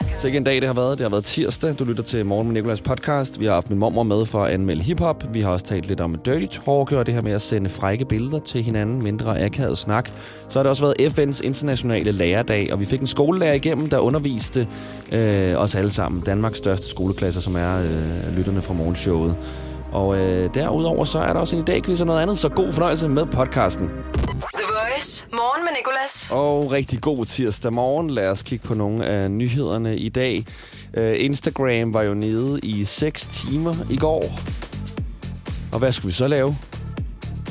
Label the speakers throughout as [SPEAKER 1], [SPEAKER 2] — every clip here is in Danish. [SPEAKER 1] Sikke en dag det har været. Det har været tirsdag. Du lytter til Morgen med Nicolas podcast. Vi har haft min mormor med for at anmelde hiphop. Vi har også talt lidt om dirty talk og det her med at sende frække billeder til hinanden. Mindre akavet snak. Så har det også været FN's internationale lærerdag, og vi fik en skolelærer igennem, der underviste øh, os alle sammen. Danmarks største skoleklasser, som er øh, lytterne fra morgenshowet. Og øh, derudover så er der også en i dag quiz og noget andet, så god fornøjelse med podcasten.
[SPEAKER 2] The Voice. Morgen med Nicolas.
[SPEAKER 1] Og rigtig god tirsdag morgen. Lad os kigge på nogle af nyhederne i dag. Øh, Instagram var jo nede i 6 timer i går. Og hvad skulle vi så lave?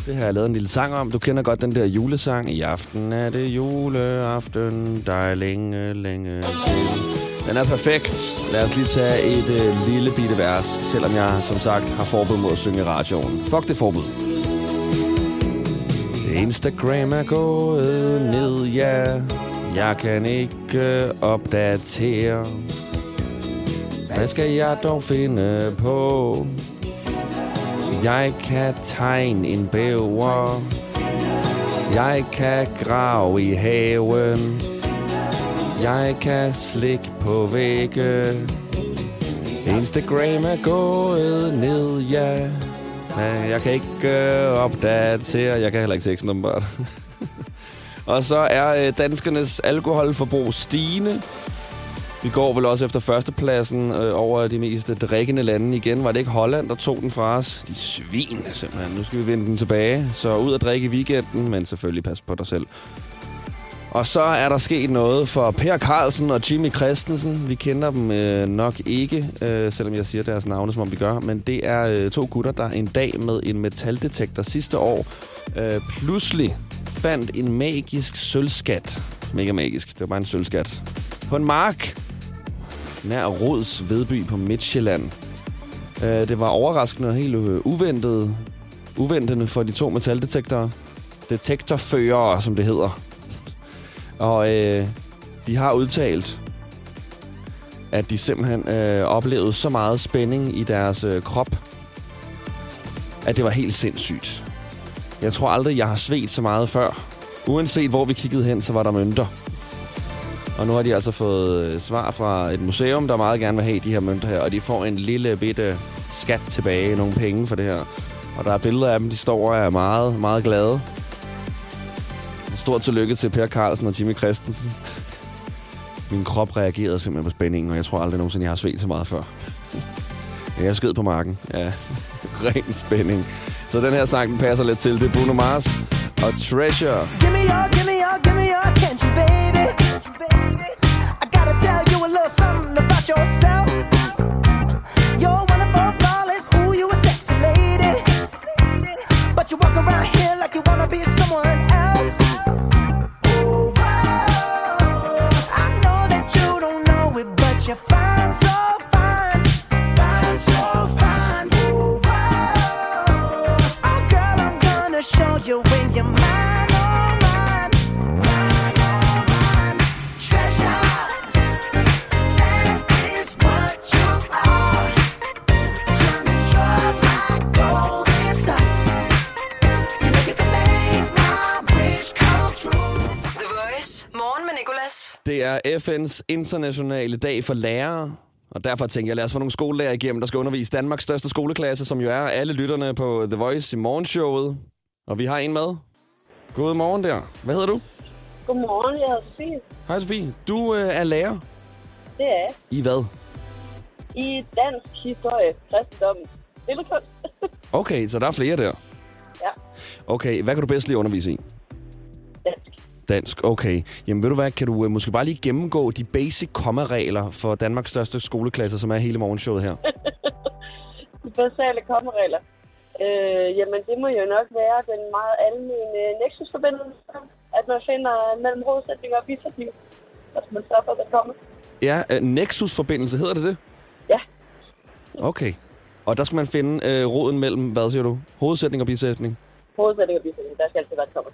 [SPEAKER 1] Det har jeg lavet en lille sang om. Du kender godt den der julesang. I aften er det juleaften. Der er længe, længe til. Den er perfekt. Lad os lige tage et øh, lille bitte vers, selvom jeg som sagt har forbud mod at synge i radioen. Fuck det forbud. Instagram er gået ned, ja. Jeg kan ikke opdatere. Hvad skal jeg dog finde på? Jeg kan tegne en bæver. Jeg kan grave i haven. Jeg kan slik på vægge. Instagram er gået ned, ja. Men jeg kan ikke øh, opdatere. Jeg kan heller ikke teksten, åbenbart. Og så er øh, danskernes alkoholforbrug stigende. Vi går vel også efter førstepladsen øh, over de mest drikkende lande igen. Var det ikke Holland, der tog den fra os? De svin simpelthen. Nu skal vi vende den tilbage. Så ud og drikke i weekenden, men selvfølgelig pas på dig selv. Og så er der sket noget for Per Carlsen og Jimmy Christensen. Vi kender dem øh, nok ikke, øh, selvom jeg siger deres navne, som om vi gør. Men det er øh, to gutter, der en dag med en metaldetektor sidste år øh, pludselig fandt en magisk sølvskat. Mega magisk. Det var bare en sølvskat. På en mark nær Rods Vedby på Midtjylland. Øh, det var overraskende og helt øh, uventet, uventende for de to metaldetektorer. Detektorfører, som det hedder. Og øh, de har udtalt, at de simpelthen øh, oplevede så meget spænding i deres øh, krop, at det var helt sindssygt. Jeg tror aldrig, jeg har svedt så meget før. Uanset hvor vi kiggede hen, så var der mønter. Og nu har de altså fået øh, svar fra et museum, der meget gerne vil have de her mønter her. Og de får en lille bitte skat tilbage, nogle penge for det her. Og der er billeder af dem, de står og er meget, meget glade. Stort tillykke til Per Carlsen og Jimmy Christensen. Min krop reagerede simpelthen på spændingen, og jeg tror aldrig nogensinde, jeg har svedt så meget før. Ja, jeg skød på marken. Ja, ren spænding. Så den her sang, den passer lidt til. Det er Bruno Mars og Treasure.
[SPEAKER 3] Give me your, give me your, give me your attention, baby. I gotta tell you a little something about yourself. You're one of our flawless, ooh, you a sexy lady. But you walk around here like you wanna be someone else. Ooh, whoa. I know that you don't know it, but you're fine, so fine. Fine, so fine. Ooh, whoa. Oh, girl, I'm gonna show you when you're mine, oh, mine. Mine, oh, mine. Treasure. That is what you are. Honey, you're my golden star. You know you can make my wish come true.
[SPEAKER 2] The Voice. Morgen med Nicolas.
[SPEAKER 1] Det er FN's internationale dag for lærere. Og derfor tænker jeg, lad os få nogle skolelærer igennem, der skal undervise Danmarks største skoleklasse, som jo er alle lytterne på The Voice i morgenshowet. Og vi har en med. Godmorgen der. Hvad hedder du?
[SPEAKER 4] Godmorgen, jeg hedder Sofie.
[SPEAKER 1] Hej Sofie. Du øh, er lærer.
[SPEAKER 4] Det er
[SPEAKER 1] I hvad?
[SPEAKER 4] i dansk historie, kristendom, billedkunst.
[SPEAKER 1] Okay, så der er flere der.
[SPEAKER 4] ja,
[SPEAKER 1] Okay, hvad kan du bedst lide at undervise i?
[SPEAKER 4] dansk.
[SPEAKER 1] Dansk, okay. Jamen ved du hvad, kan du øh, måske bare lige gennemgå de basic kommaregler for Danmarks største skoleklasser, som er hele morgenshowet her?
[SPEAKER 4] De basale kommeregler. Øh, jamen, det må jo nok være den meget almene nexusforbindelse, at man finder mellem rodsætninger og bisætninger, og så man sørger for, at der kommer.
[SPEAKER 1] Ja, øh, Nexus-forbindelse, hedder det det?
[SPEAKER 4] Ja,
[SPEAKER 1] Okay. Og der skal man finde øh, roden mellem, hvad siger du? Hovedsætning og bisætning?
[SPEAKER 4] rodsætninger og bisætninger, der skal altid være et kommer.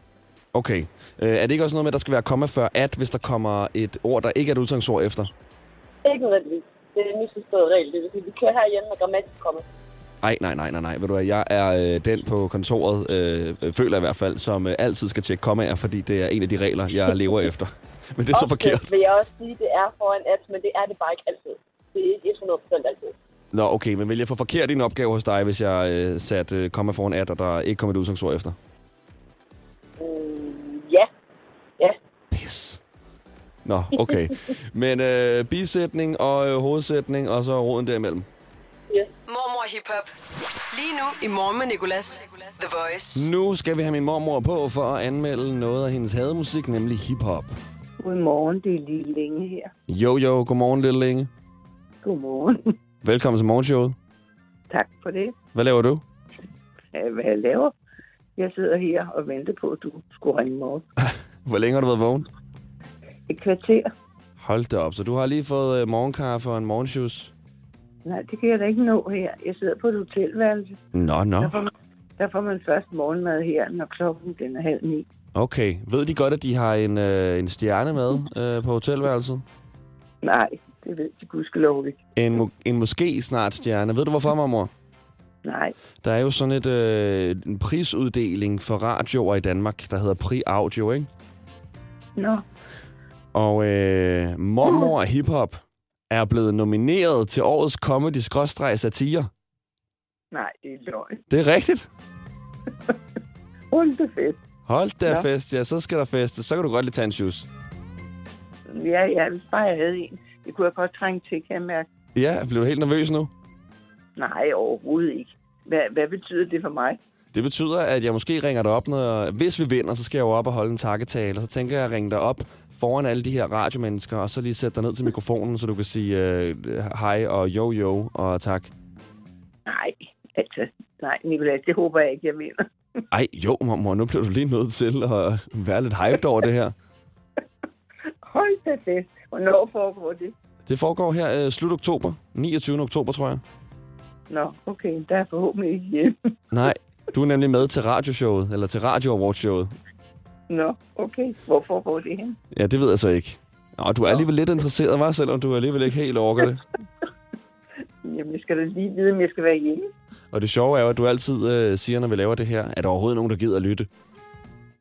[SPEAKER 1] Okay. Øh, er det ikke også noget med, at der skal være komma før at, hvis der kommer et ord, der ikke er et udtryksord efter?
[SPEAKER 4] Ikke nødvendigvis. Det er en misforstået regel. Det vil sige, vi kører herhjemme med grammatisk kommer.
[SPEAKER 1] Ej, nej, nej, nej, nej. Ved du hvad, jeg er øh, den på kontoret, øh, øh, føler jeg i hvert fald, som øh, altid skal tjekke kommaer, fordi det er en af de regler, jeg lever efter. Men det er så
[SPEAKER 4] Ofte
[SPEAKER 1] forkert.
[SPEAKER 4] vil jeg også sige, at det er foran at, men det er det bare ikke altid. Det er ikke 100% altid.
[SPEAKER 1] Nå, okay, men vil jeg få forkert i en opgave hos dig, hvis jeg øh, satte øh, komma foran at, og der ikke kom et udsangsord efter?
[SPEAKER 4] Mm, ja. Ja.
[SPEAKER 1] Pis. Nå, okay. men øh, bisætning og øh, hovedsætning, og så roden derimellem.
[SPEAKER 4] Yes.
[SPEAKER 2] Mormor hiphop. Lige nu i Morgen med Nicolas. The Voice.
[SPEAKER 1] Nu skal vi have min mormor på for at anmelde noget af hendes hademusik, nemlig hiphop.
[SPEAKER 5] Godmorgen, det er Lille Længe her.
[SPEAKER 1] Jo, jo, godmorgen, lille Inge.
[SPEAKER 5] Godmorgen.
[SPEAKER 1] Velkommen til morgenshowet.
[SPEAKER 5] Tak for det.
[SPEAKER 1] Hvad laver du?
[SPEAKER 5] Ja, Hvad jeg laver? Jeg sidder her og venter på, at du skulle ringe mig op.
[SPEAKER 1] Hvor længe har du været vågen?
[SPEAKER 5] Et kvarter?
[SPEAKER 1] Hold da op, så du har lige fået øh, morgenkaffe og en morgensjus.
[SPEAKER 5] Nej, det kan jeg da ikke nå her. Jeg sidder på et hotelværelse.
[SPEAKER 1] Nå, nå.
[SPEAKER 5] Der får man, der får man først morgenmad her, når klokken den er halv ni.
[SPEAKER 1] Okay. Ved de godt, at de har en, øh, en stjerne med øh, på hotelværelset?
[SPEAKER 5] Nej, det ved de gudskelov ikke.
[SPEAKER 1] En, mo- en måske snart stjerne. Ved du hvorfor, mormor?
[SPEAKER 5] Nej,
[SPEAKER 1] Der er jo sådan et, øh, en prisuddeling for radioer i Danmark, der hedder Pri Audio, ikke?
[SPEAKER 5] nå,
[SPEAKER 1] Og øh, mormor hiphop er blevet nomineret til årets comedy-satire.
[SPEAKER 5] nej, det er løgn.
[SPEAKER 1] Det er rigtigt.
[SPEAKER 5] Rundt og fedt.
[SPEAKER 1] Hold da
[SPEAKER 5] Nå.
[SPEAKER 1] fest, ja, så skal der festes. Så kan du godt lige tage en shoes.
[SPEAKER 5] Ja, ja, hvis bare jeg havde en. Det kunne jeg godt trænge til, kan jeg mærke.
[SPEAKER 1] Ja, bliver du helt nervøs nu?
[SPEAKER 5] Nej, overhovedet ikke. Hvad, hvad betyder det for mig?
[SPEAKER 1] Det betyder, at jeg måske ringer dig op, når, hvis vi vinder, så skal jeg jo op og holde en takketale. Og så tænker jeg at ringe dig op foran alle de her radiomennesker, og så lige sætte dig ned til mikrofonen, så du kan sige øh, hej og jo jo og tak.
[SPEAKER 5] Nej, altså, nej, Nicolas, det håber jeg ikke, jeg vinder.
[SPEAKER 1] Ej, jo, mor, nu bliver du lige nødt til at være lidt hyped over det her.
[SPEAKER 5] Hold da fest. Hvornår foregår det?
[SPEAKER 1] Det foregår her øh, slut oktober, 29. oktober, tror jeg.
[SPEAKER 5] Nå, okay, der er forhåbentlig ikke hjemme.
[SPEAKER 1] Nej, du er nemlig med til radioshowet, eller til Radio Awards showet.
[SPEAKER 5] Nå, okay, hvor foregår det hen?
[SPEAKER 1] Ja, det ved jeg så ikke. Nå, du er alligevel lidt interesseret, var selvom du alligevel ikke helt orker det.
[SPEAKER 5] Jamen, jeg skal da lige vide, om jeg skal være hjemme.
[SPEAKER 1] Og det sjove er jo, at du altid øh, siger, når vi laver det her, at der overhovedet er nogen, der gider at lytte.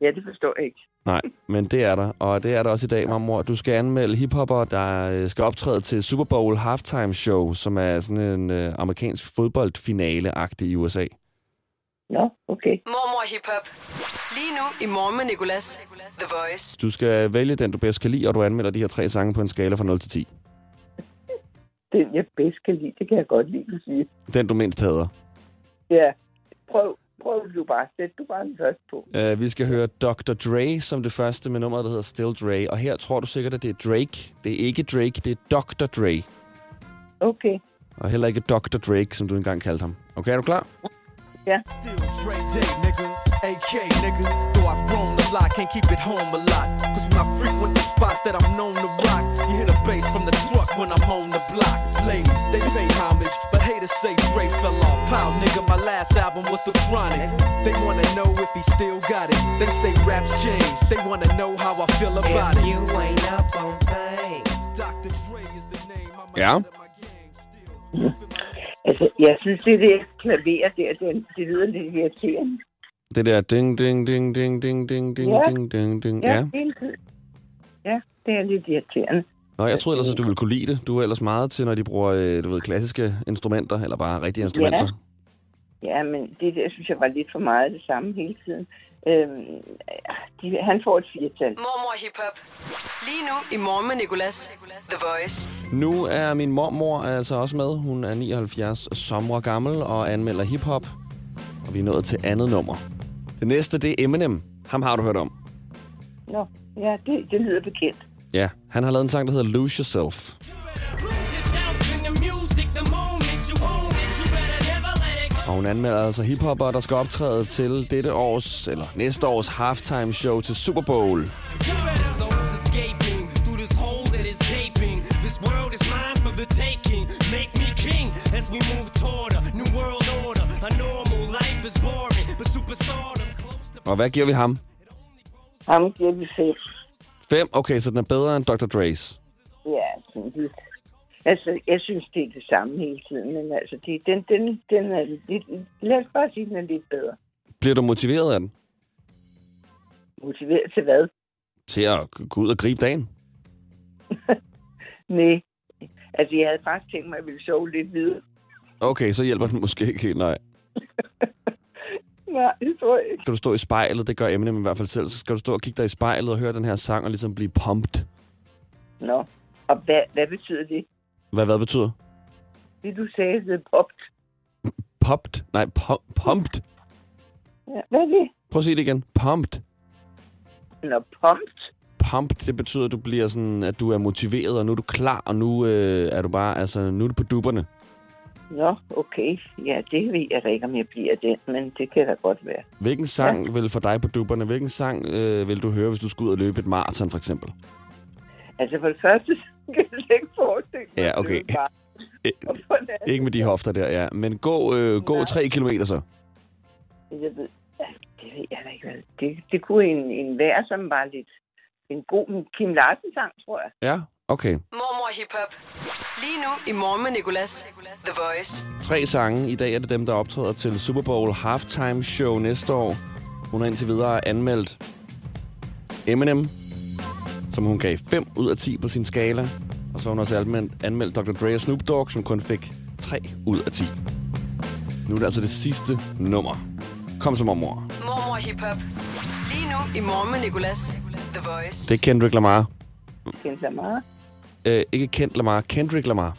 [SPEAKER 5] Ja, det forstår jeg ikke.
[SPEAKER 1] Nej, men det er der. Og det er der også i dag, mormor. Du skal anmelde hiphopper, der øh, skal optræde til Super Bowl Halftime Show, som er sådan en øh, amerikansk fodboldfinale-agtig i USA.
[SPEAKER 5] Nå, okay.
[SPEAKER 2] Mormor hiphop. Lige nu i Morgen med Nicolas. The Voice.
[SPEAKER 1] Du skal vælge den, du bedst kan lide, og du anmelder de her tre sange på en skala fra 0 til 10.
[SPEAKER 5] Den, jeg bedst kan lide, det kan jeg godt lide at sige.
[SPEAKER 1] Den, du mindst hader.
[SPEAKER 5] Ja, prøv, prøv du bare. Sæt du bare den først på.
[SPEAKER 1] Uh, vi skal høre Dr. Dre som det første med nummeret, der hedder Still Dre. Og her tror du sikkert, at det er Drake. Det er ikke Drake, det er Dr. Dre.
[SPEAKER 5] Okay,
[SPEAKER 1] Og heller ikke Dr. Drake, som du engang kaldte ham. Okay, er du klar?
[SPEAKER 5] ja.
[SPEAKER 6] Still Dre Day, nigga. AK, nigga. Though I've grown a lot, can't keep it home a lot. Cause when I frequent the spots that I'm known to rock, you hear the bass from the truck when I'm on the block. Ladies, they pay homage, but haters say Dre fell off. How, nigga, my last album was The Chronic. They wanna know if he still got it. They say raps changed, they wanna know how I feel about it. You ain't up on things. Dr. Dre is the name. I'm
[SPEAKER 1] Ja.
[SPEAKER 6] ahead of my gang still.
[SPEAKER 5] Altså, jeg synes, det der klaver der, det, det lyder lidt irriterende.
[SPEAKER 1] Det der ding, ding, ding, ding, ding, ding, ding,
[SPEAKER 5] Ja.
[SPEAKER 1] ding, ding, ding. Ja.
[SPEAKER 5] hele tiden. Ja, det er lidt irriterende.
[SPEAKER 1] Nå, jeg troede ellers, at du ville kunne lide det. Du er ellers meget til, når de bruger, øh, du ved, klassiske instrumenter, eller bare rigtige instrumenter.
[SPEAKER 5] Ja, men det der, synes jeg, var lidt for meget det samme hele tiden. Øhm, de, han får et firetal.
[SPEAKER 2] Mormor hiphop. Lige nu i Morgen med Nicolas. The Voice.
[SPEAKER 1] Nu er min mormor altså også med. Hun er 79 sommer gammel og anmelder hiphop. Og vi er nået til andet nummer. Det næste, det er Eminem. Ham har du hørt om.
[SPEAKER 5] Nå, ja, det, det lyder bekendt.
[SPEAKER 1] Ja, han har lavet en sang, der hedder Lose Yourself.
[SPEAKER 7] Lose yourself in the music the moment you own it. You better never let it go.
[SPEAKER 1] Og hun anmelder altså hiphopper, der skal optræde til dette års, eller næste års halftime show til Super Bowl.
[SPEAKER 7] The soul's escaping through this hole that is gaping. This world is mine for the taking. Make me king as we move toward a new world order. A normal life is boring, but superstardom's close to
[SPEAKER 1] Og hvad giver vi ham?
[SPEAKER 5] Ham giver vi fem.
[SPEAKER 1] 5? Okay, så den er bedre end Dr. Dre's.
[SPEAKER 5] Ja, sådan lidt. Altså, jeg synes, det er det samme hele tiden, men altså, det, den, den, den er lidt, lad os bare sige, den er lidt bedre.
[SPEAKER 1] Bliver du motiveret af den?
[SPEAKER 5] Motiveret til hvad?
[SPEAKER 1] Til at gå ud og gribe dagen?
[SPEAKER 5] Nej. Altså, jeg havde faktisk tænkt mig, at jeg ville sove lidt videre.
[SPEAKER 1] Okay, så hjælper den måske ikke helt, nej.
[SPEAKER 5] Nej, det tror jeg ikke.
[SPEAKER 1] Skal du stå i spejlet, det gør Eminem i hvert fald selv, så skal du stå og kigge dig i spejlet og høre den her sang og ligesom blive pumped.
[SPEAKER 5] Nå, og hvad, hvad betyder det?
[SPEAKER 1] Hvad hvad betyder?
[SPEAKER 5] Det, du sagde, det popped.
[SPEAKER 1] Popped? Nej, pu- pumped.
[SPEAKER 5] Ja, hvad er det?
[SPEAKER 1] Prøv at sige det igen. Pumped.
[SPEAKER 5] Nå, pumped.
[SPEAKER 1] Pumped, det betyder, at du bliver sådan, at du er motiveret, og nu er du klar, og nu øh, er du bare, altså, nu er du på dupperne.
[SPEAKER 5] Nå, okay. Ja, det ved jeg da ikke, om jeg bliver den, men det kan da godt være.
[SPEAKER 1] Hvilken sang ja. vil for dig på dupperne? Hvilken sang øh, vil du høre, hvis du skulle ud og løbe et maraton, for eksempel?
[SPEAKER 5] Altså, for det første kan jeg slet ikke forestille mig.
[SPEAKER 1] Ja,
[SPEAKER 5] at det
[SPEAKER 1] okay.
[SPEAKER 5] er bare- Og for det andet,
[SPEAKER 1] Ikke med de hofter der, ja. Men gå, øh, gå
[SPEAKER 5] Nej.
[SPEAKER 1] tre kilometer så.
[SPEAKER 5] Jeg ved, ja, det ved jeg da ikke, hvad. Det, det kunne en, en være, som var lidt en god Kim Larsen-sang, tror jeg.
[SPEAKER 1] Ja, okay.
[SPEAKER 2] Mormor Hip Hop. Lige nu i morgen med Nicolas. The Voice.
[SPEAKER 1] Tre sange. I dag er det dem, der optræder til Super Bowl Halftime Show næste år. Hun har indtil videre anmeldt Eminem, som hun gav 5 ud af 10 på sin skala. Og så har hun også anmeldt, anmeldt Dr. Dre og Snoop Dogg, som kun fik 3 ud af 10. Nu er det altså det sidste nummer. Kom så, mormor.
[SPEAKER 2] Mormor Hip Hop. Lige nu i morgen med Nicolas. The Voice.
[SPEAKER 1] Det er Kendrick Lamar.
[SPEAKER 5] Kendte Lamar.
[SPEAKER 1] Øh, ikke Kent Lamar, Kendrick Lamar.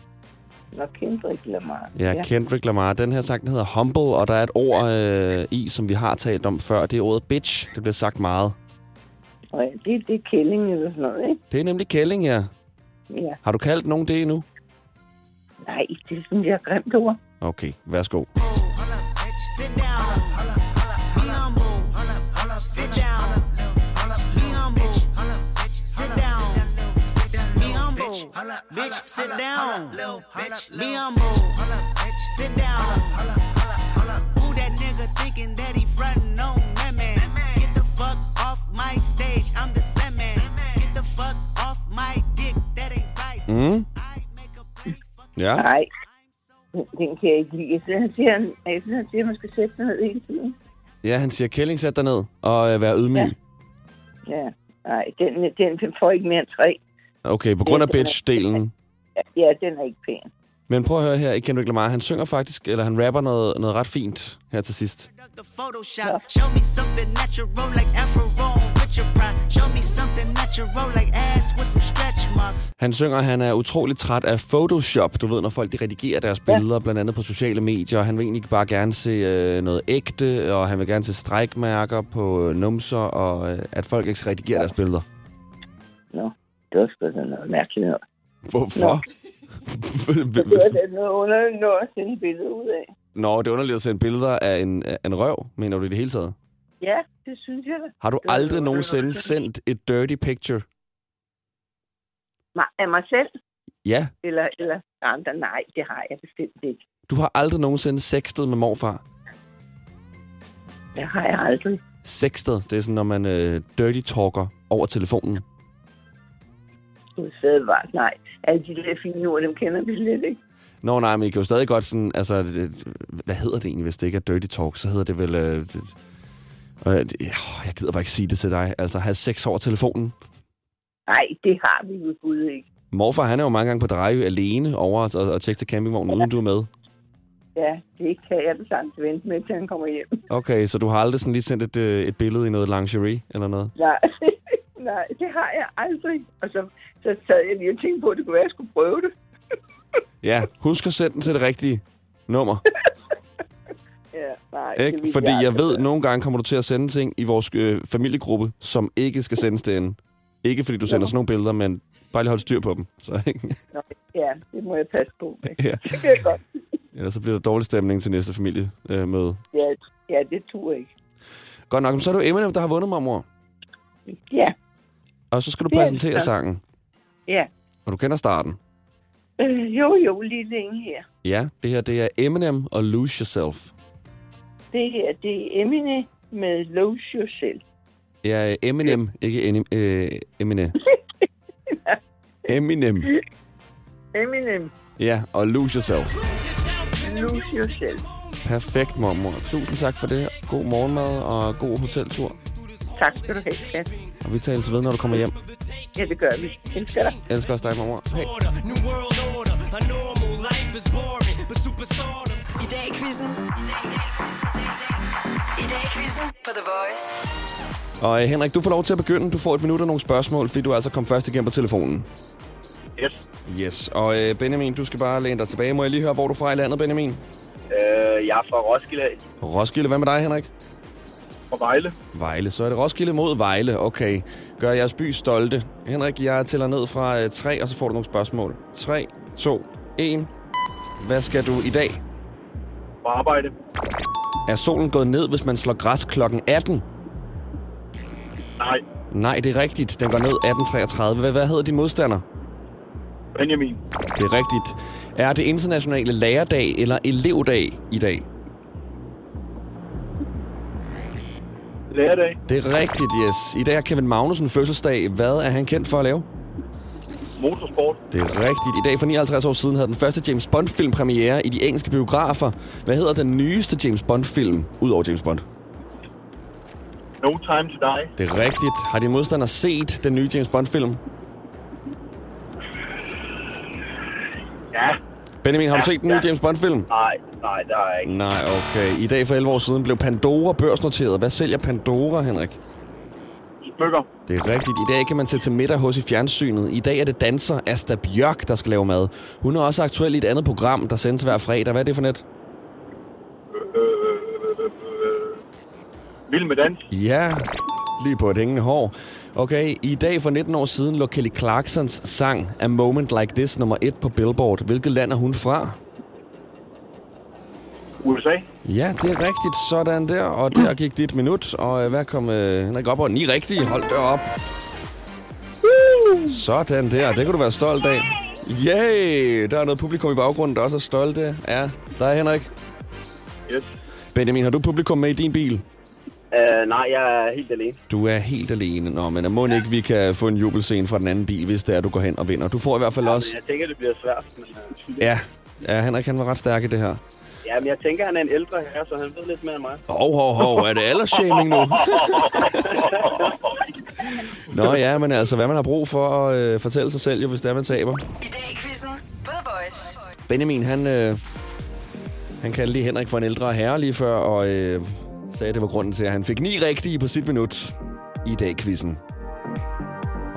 [SPEAKER 5] Nå, Kendrick Lamar.
[SPEAKER 1] Ja, ja, Kendrick Lamar. Den her sang den hedder Humble, og der er et ord øh, i, som vi har talt om før. Det er ordet bitch. Det bliver sagt meget.
[SPEAKER 5] Og ja, det, det er Kælling eller sådan noget, ikke?
[SPEAKER 1] Det er nemlig kælling, ja.
[SPEAKER 5] Ja.
[SPEAKER 1] Har du kaldt nogen det endnu?
[SPEAKER 5] Nej, det er sådan, jeg er grimt ord.
[SPEAKER 1] Okay, værsgo.
[SPEAKER 8] Sit down. Be humble. Sit down. Be humble. Sit down. Be humble. Bitch, sit down. Be humble. Sit down. Who that nigga thinking that he frontin' on that man? Get the fuck off my stage. I'm the same man. Get the fuck off my dick. That ain't right.
[SPEAKER 1] Mm.
[SPEAKER 8] I make a play for
[SPEAKER 1] Ja.
[SPEAKER 5] Nej, den- den kan jeg ikke lide. Jeg synes, han siger, han, jeg synes, han siger, at man skal sætte sig ned hele tiden.
[SPEAKER 1] ja, han siger, kælling, sæt dig ned og øh, vær ydmyg.
[SPEAKER 5] Ja. Ja, nej, den, den, den får ikke mere end tre.
[SPEAKER 1] Okay, på grund af bitch-delen.
[SPEAKER 5] Ja, den er ikke pæn.
[SPEAKER 1] Men prøv at høre her, Kendrick Lamar, han synger faktisk, eller han rapper noget, noget ret fint her til sidst.
[SPEAKER 8] Up the Photoshop. Show me something natural like Afro with your pride. Show me something natural like ass with some stretch marks.
[SPEAKER 1] Han synger, at han er utrolig træt af Photoshop. Du ved, når folk de redigerer deres billeder, blandt andet på sociale medier. og Han vil egentlig bare gerne se øh, noget ægte, og han vil gerne se strækmærker på øh, numser, og øh, at folk ikke skal redigere deres billeder.
[SPEAKER 5] Nå, det var sgu da noget mærkeligt noget.
[SPEAKER 1] Hvorfor?
[SPEAKER 5] Det var da noget underligt noget at sende billeder ud af.
[SPEAKER 1] Nå, det er underligt at sende billeder af en, af en røv, mener du i det hele taget?
[SPEAKER 5] Ja, det synes jeg da.
[SPEAKER 1] Har du
[SPEAKER 5] var
[SPEAKER 1] aldrig
[SPEAKER 5] det,
[SPEAKER 1] nogensinde sendt et dirty picture?
[SPEAKER 5] Ma- Af mig selv?
[SPEAKER 1] Ja.
[SPEAKER 5] Eller, eller andre? Nej, det har jeg bestemt ikke.
[SPEAKER 1] Du har aldrig nogensinde sextet med morfar?
[SPEAKER 5] Det har jeg aldrig.
[SPEAKER 1] Sextet, det er sådan, når man øh, dirty talker over telefonen.
[SPEAKER 5] Udstedvart, nej. Alle de der fine ord, dem kender vi slet ikke.
[SPEAKER 1] Nå nej, men I kan jo stadig godt sådan, altså, det- hvad hedder det egentlig, hvis det ikke er dirty talk? Så hedder det vel, øh, det, øh, det, åh, jeg gider bare ikke sige det til dig, altså have sex over telefonen.
[SPEAKER 5] Nej, det har vi jo gud ikke.
[SPEAKER 1] Morfar, han er jo mange gange på dreje alene over og, og tjekke til campingvognen, uden du er med.
[SPEAKER 5] Ja, det kan jeg da sagtens vente med, til han kommer hjem.
[SPEAKER 1] Okay, så du har aldrig sådan lige sendt et, øh, et billede i noget lingerie eller noget?
[SPEAKER 5] Nej, nej det har jeg aldrig. Og så, så sad jeg lige og tænkte på, at det kunne være, at jeg skulle prøve det.
[SPEAKER 1] Ja, husk at sende den til det rigtige nummer.
[SPEAKER 5] Ja, nej, det
[SPEAKER 1] Ikke?
[SPEAKER 5] ville
[SPEAKER 1] Fordi jeg
[SPEAKER 5] aldrig
[SPEAKER 1] ved, at
[SPEAKER 5] gøre.
[SPEAKER 1] nogle gange kommer du til at sende ting i vores øh, familiegruppe, som ikke skal sendes derinde. Ikke fordi du sender sådan nogle billeder, men bare lige holde styr på dem. Så, ikke?
[SPEAKER 5] Nå, ja, det må jeg passe på. med.
[SPEAKER 1] Ja.
[SPEAKER 5] Det kan jeg godt.
[SPEAKER 1] Ellers så bliver der dårlig stemning til næste familiemøde.
[SPEAKER 5] Ja, ja, det turde jeg ikke.
[SPEAKER 1] Godt nok, men så er det jo Eminem, der har vundet mig, mor.
[SPEAKER 5] Ja,
[SPEAKER 1] Og så skal du
[SPEAKER 5] Ja,
[SPEAKER 1] præsentere
[SPEAKER 5] ja.
[SPEAKER 1] sangen,
[SPEAKER 5] ja.
[SPEAKER 1] og du kender starten.
[SPEAKER 5] Øh, jo, jo, lige længe her.
[SPEAKER 1] Ja, det her det er Eminem og Lose Yourself.
[SPEAKER 5] Det her, det er Emine med Lose Yourself.
[SPEAKER 1] Ja, øh, Eminem, ikke Enim, øh, Eminem. Eminem.
[SPEAKER 5] Eminem,
[SPEAKER 1] Ja, og Lose Yourself.
[SPEAKER 5] lose yourself.
[SPEAKER 1] Perfekt, mormor. Tusind tak for det. God morgenmad og god hoteltur.
[SPEAKER 5] Tak skal du have, skat.
[SPEAKER 1] Og vi tales ved, når du kommer hjem.
[SPEAKER 5] Ja, det gør vi. Elsker dig.
[SPEAKER 1] Jeg elsker også dig, mormor. Hej.
[SPEAKER 7] Order, new world order. A normal life is boring, but superstardom's
[SPEAKER 2] I dag i quizzen. I dag i quizzen. I dag i quizzen på The Voice.
[SPEAKER 1] Og øh, Henrik, du får lov til at begynde. Du får et minut og nogle spørgsmål, fordi du altså kom først igennem på telefonen.
[SPEAKER 9] Yes.
[SPEAKER 1] Yes, og øh, Benjamin, du skal bare læne dig tilbage. Må jeg lige høre, hvor er du fra i landet, Benjamin?
[SPEAKER 9] Øh, jeg er fra Roskilde,
[SPEAKER 1] Roskilde, hvad med dig, Henrik?
[SPEAKER 9] fra Vejle.
[SPEAKER 1] Vejle, så er det Roskilde mod Vejle. Okay, gør jeres by stolte. Henrik, jeg tæller ned fra 3, og så får du nogle spørgsmål. 3, 2, 1. Hvad skal du i dag?
[SPEAKER 9] På arbejde.
[SPEAKER 1] Er solen gået ned, hvis man slår græs klokken 18?
[SPEAKER 9] Nej,
[SPEAKER 1] Nej, det er rigtigt. Den går ned 18.33. Hvad, hvad hedder din modstander?
[SPEAKER 9] Benjamin.
[SPEAKER 1] Det er rigtigt. Er det internationale lærerdag eller elevdag i dag?
[SPEAKER 9] Lærerdag.
[SPEAKER 1] Det er rigtigt, yes. I dag har Kevin Magnussen fødselsdag. Hvad er han kendt for at lave?
[SPEAKER 9] Motorsport.
[SPEAKER 1] Det er rigtigt. I dag for 59 år siden havde den første James Bond-film premiere i de engelske biografer. Hvad hedder den nyeste James Bond-film, udover James Bond?
[SPEAKER 9] No time to die.
[SPEAKER 1] Det er rigtigt. Har din modstander set den nye James Bond-film?
[SPEAKER 9] Ja.
[SPEAKER 1] Benjamin, har du
[SPEAKER 9] Ja,
[SPEAKER 1] set den nye
[SPEAKER 9] ja.
[SPEAKER 1] James Bond-film?
[SPEAKER 9] Nej, nej, der er ikke.
[SPEAKER 1] Nej, okay. I dag for 11 år siden blev Pandora børsnoteret. Hvad sælger Pandora, Henrik?
[SPEAKER 9] Smykker.
[SPEAKER 1] Det er rigtigt. I dag kan man sætte til middag hos i fjernsynet. I dag er det danser Asta Bjørk, der skal lave mad. Hun er også aktuel i et andet program, der sendes hver fredag. Hvad er det for net?
[SPEAKER 9] Øh, vild med dans.
[SPEAKER 1] Ja, lige på et hængende hår. Okay, i dag for 19 år siden lå Kelly Clarksons sang A Moment Like This nummer 1 på Billboard. Hvilket land er hun fra?
[SPEAKER 9] USA.
[SPEAKER 1] Ja, det er rigtigt. Sådan der. Og der gik dit minut. Og øh, hvad kom øh, Henrik op og ni rigtige? Hold da op. Sådan der. Det kan du være stolt af. Yay! Der er noget publikum i baggrunden, der også er stolte af dig, Henrik.
[SPEAKER 9] Yes.
[SPEAKER 1] Benjamin, har du publikum med i din bil?
[SPEAKER 9] Uh, nej, jeg er helt alene.
[SPEAKER 1] Du er helt alene. Nå, men må ikke, vi kan få en jubelscene fra den anden bil, hvis det er, du går hen og vinder. Du får i hvert fald også...
[SPEAKER 9] Jeg tænker, det bliver svært. Men, øh,
[SPEAKER 1] Ja, ja Henrik han var ret stærk i det her.
[SPEAKER 9] ja, men jeg tænker, han er en ældre herre, så han ved lidt mere end mig.
[SPEAKER 1] Hov, hov, hov, er det aldersshaming nu? Nå ja, men altså, hvad man har brug for at øh, fortælle sig selv, jo, hvis det er, man taber.
[SPEAKER 2] I dag i quizzen på The Voice.
[SPEAKER 1] Benjamin, han, øh, han kaldte lige Henrik for en ældre herre lige før, og øh, sagde, at det var grunden til, at han fik ni rigtige på sit minut i dag quizzen.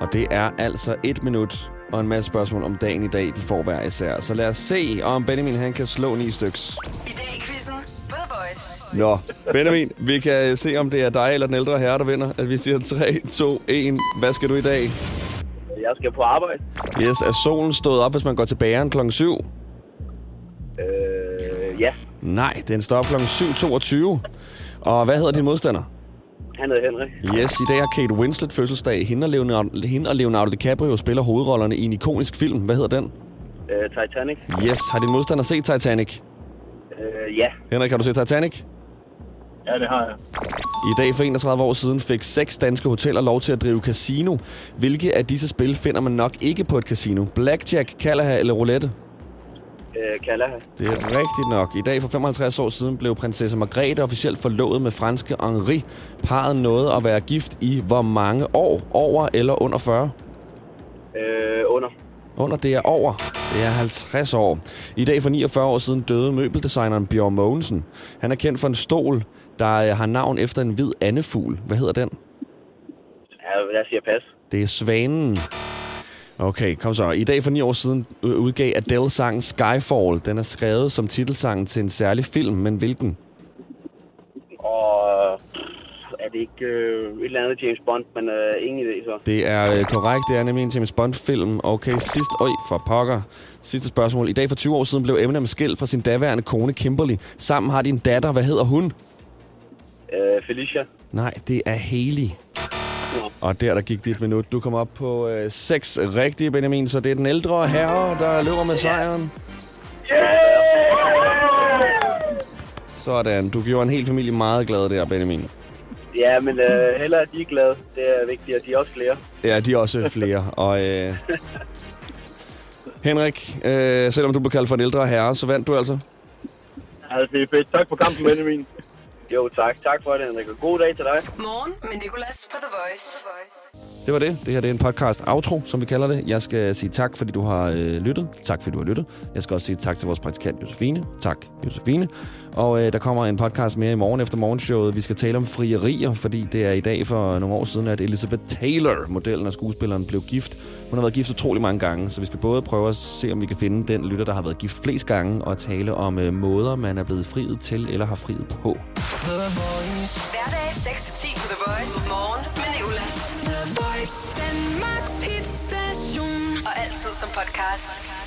[SPEAKER 1] Og det er altså et minut og en masse spørgsmål om dagen i dag, de får hver især. Så lad os se, om Benjamin han kan slå ni styks.
[SPEAKER 2] I dag i quizzen på The Voice.
[SPEAKER 1] Nå, Benjamin, vi kan øh, se, om det er dig eller den ældre herre, der vinder. At vi siger 3, 2, 1. Hvad skal du i dag?
[SPEAKER 9] Jeg skal på arbejde.
[SPEAKER 1] Yes, er solen stået op, hvis man går til bageren klokken 7?
[SPEAKER 9] Øh, ja,
[SPEAKER 1] Nej, den står op klokken 7.22. Og hvad hedder din modstander?
[SPEAKER 9] han hedder Henrik.
[SPEAKER 1] Yes, i dag har Kate Winslet fødselsdag. Hende og Leonardo, hende og Leonardo DiCaprio spiller hovedrollerne i en ikonisk film. Hvad hedder den?
[SPEAKER 9] Øh, Titanic.
[SPEAKER 1] Yes, har din modstander set Titanic?
[SPEAKER 9] Øh, ja.
[SPEAKER 1] Henrik, har du set Titanic?
[SPEAKER 9] Ja, det har jeg.
[SPEAKER 1] I dag for 31 år siden fik seks danske hoteller lov til at drive casino. Hvilke af disse spil finder man nok ikke på et casino? Blackjack, Kalaha eller roulette?
[SPEAKER 9] Øh, kalder han.
[SPEAKER 1] Det er rigtigt nok. I dag for 55 år siden blev prinsesse Margrethe officielt forlovet med franske Henri. Parret nåede at være gift i hvor mange år? Over eller under 40?
[SPEAKER 9] Øh, under.
[SPEAKER 1] Under det er over. Det er 50 år. I dag for 49 år siden døde møbeldesigneren Bjørn Mogensen. Han er kendt for en stol, der øh, har navn efter en hvid andefugl. Hvad hedder den?
[SPEAKER 9] Ja, jeg siger pas.
[SPEAKER 1] Det er Svanen. Okay, kom så. I dag for ni år siden øh, udgav Adele sangen Skyfall. Den er skrevet som titelsangen til en særlig film, men hvilken?
[SPEAKER 9] Og øh, er det ikke øh, et eller andet James Bond, men øh, ingen idé så.
[SPEAKER 1] Det er øh, korrekt, det er nemlig en James Bond-film. Okay, sidst... Øj, for pokker. Sidste spørgsmål. I dag for 20 år siden blev Eminem skilt fra sin daværende kone Kimberly. Sammen har de en datter. Hvad hedder hun?
[SPEAKER 9] Øh, Felicia.
[SPEAKER 1] Nej, det er Haley. Og der, der gik dit minut. Du kom op på øh, seks rigtige, Benjamin. Så det er den ældre herre, der løber med sejren. Sådan. Du gjorde en hel familie meget glad der, Benjamin.
[SPEAKER 9] Ja, men øh, hellere er de glade. Det er vigtigt, at de er også flere.
[SPEAKER 1] Ja, de er også flere. Og øh, Henrik, øh, selvom du blev kaldt for en ældre herre, så vandt du altså.
[SPEAKER 9] Altså, det er fedt. Tak for kampen, Benjamin. Jo, tak. Tak for det, Henrik. Og god dag til dig.
[SPEAKER 2] Morgen med Nicolas på The Voice.
[SPEAKER 1] Det var det. Det her det er en podcast outro, som vi kalder det. Jeg skal sige tak, fordi du har øh, lyttet. Tak, fordi du har lyttet. Jeg skal også sige tak til vores praktikant Josefine. Tak, Josefine. Og øh, der kommer en podcast mere i morgen efter morgenshowet. Vi skal tale om frierier, fordi det er i dag for nogle år siden, at Elizabeth Taylor, modellen og skuespilleren, blev gift. Hun har været gift utrolig mange gange, så vi skal både prøve at se, om vi kan finde den lytter, der har været gift flest gange, og tale om øh, måder, man er blevet friet til eller har friet på.
[SPEAKER 2] Hverdag 6-10 på The Voice. Morgen med Nicolas. The Voice. Danmarks hitstation. Og altid som podcast.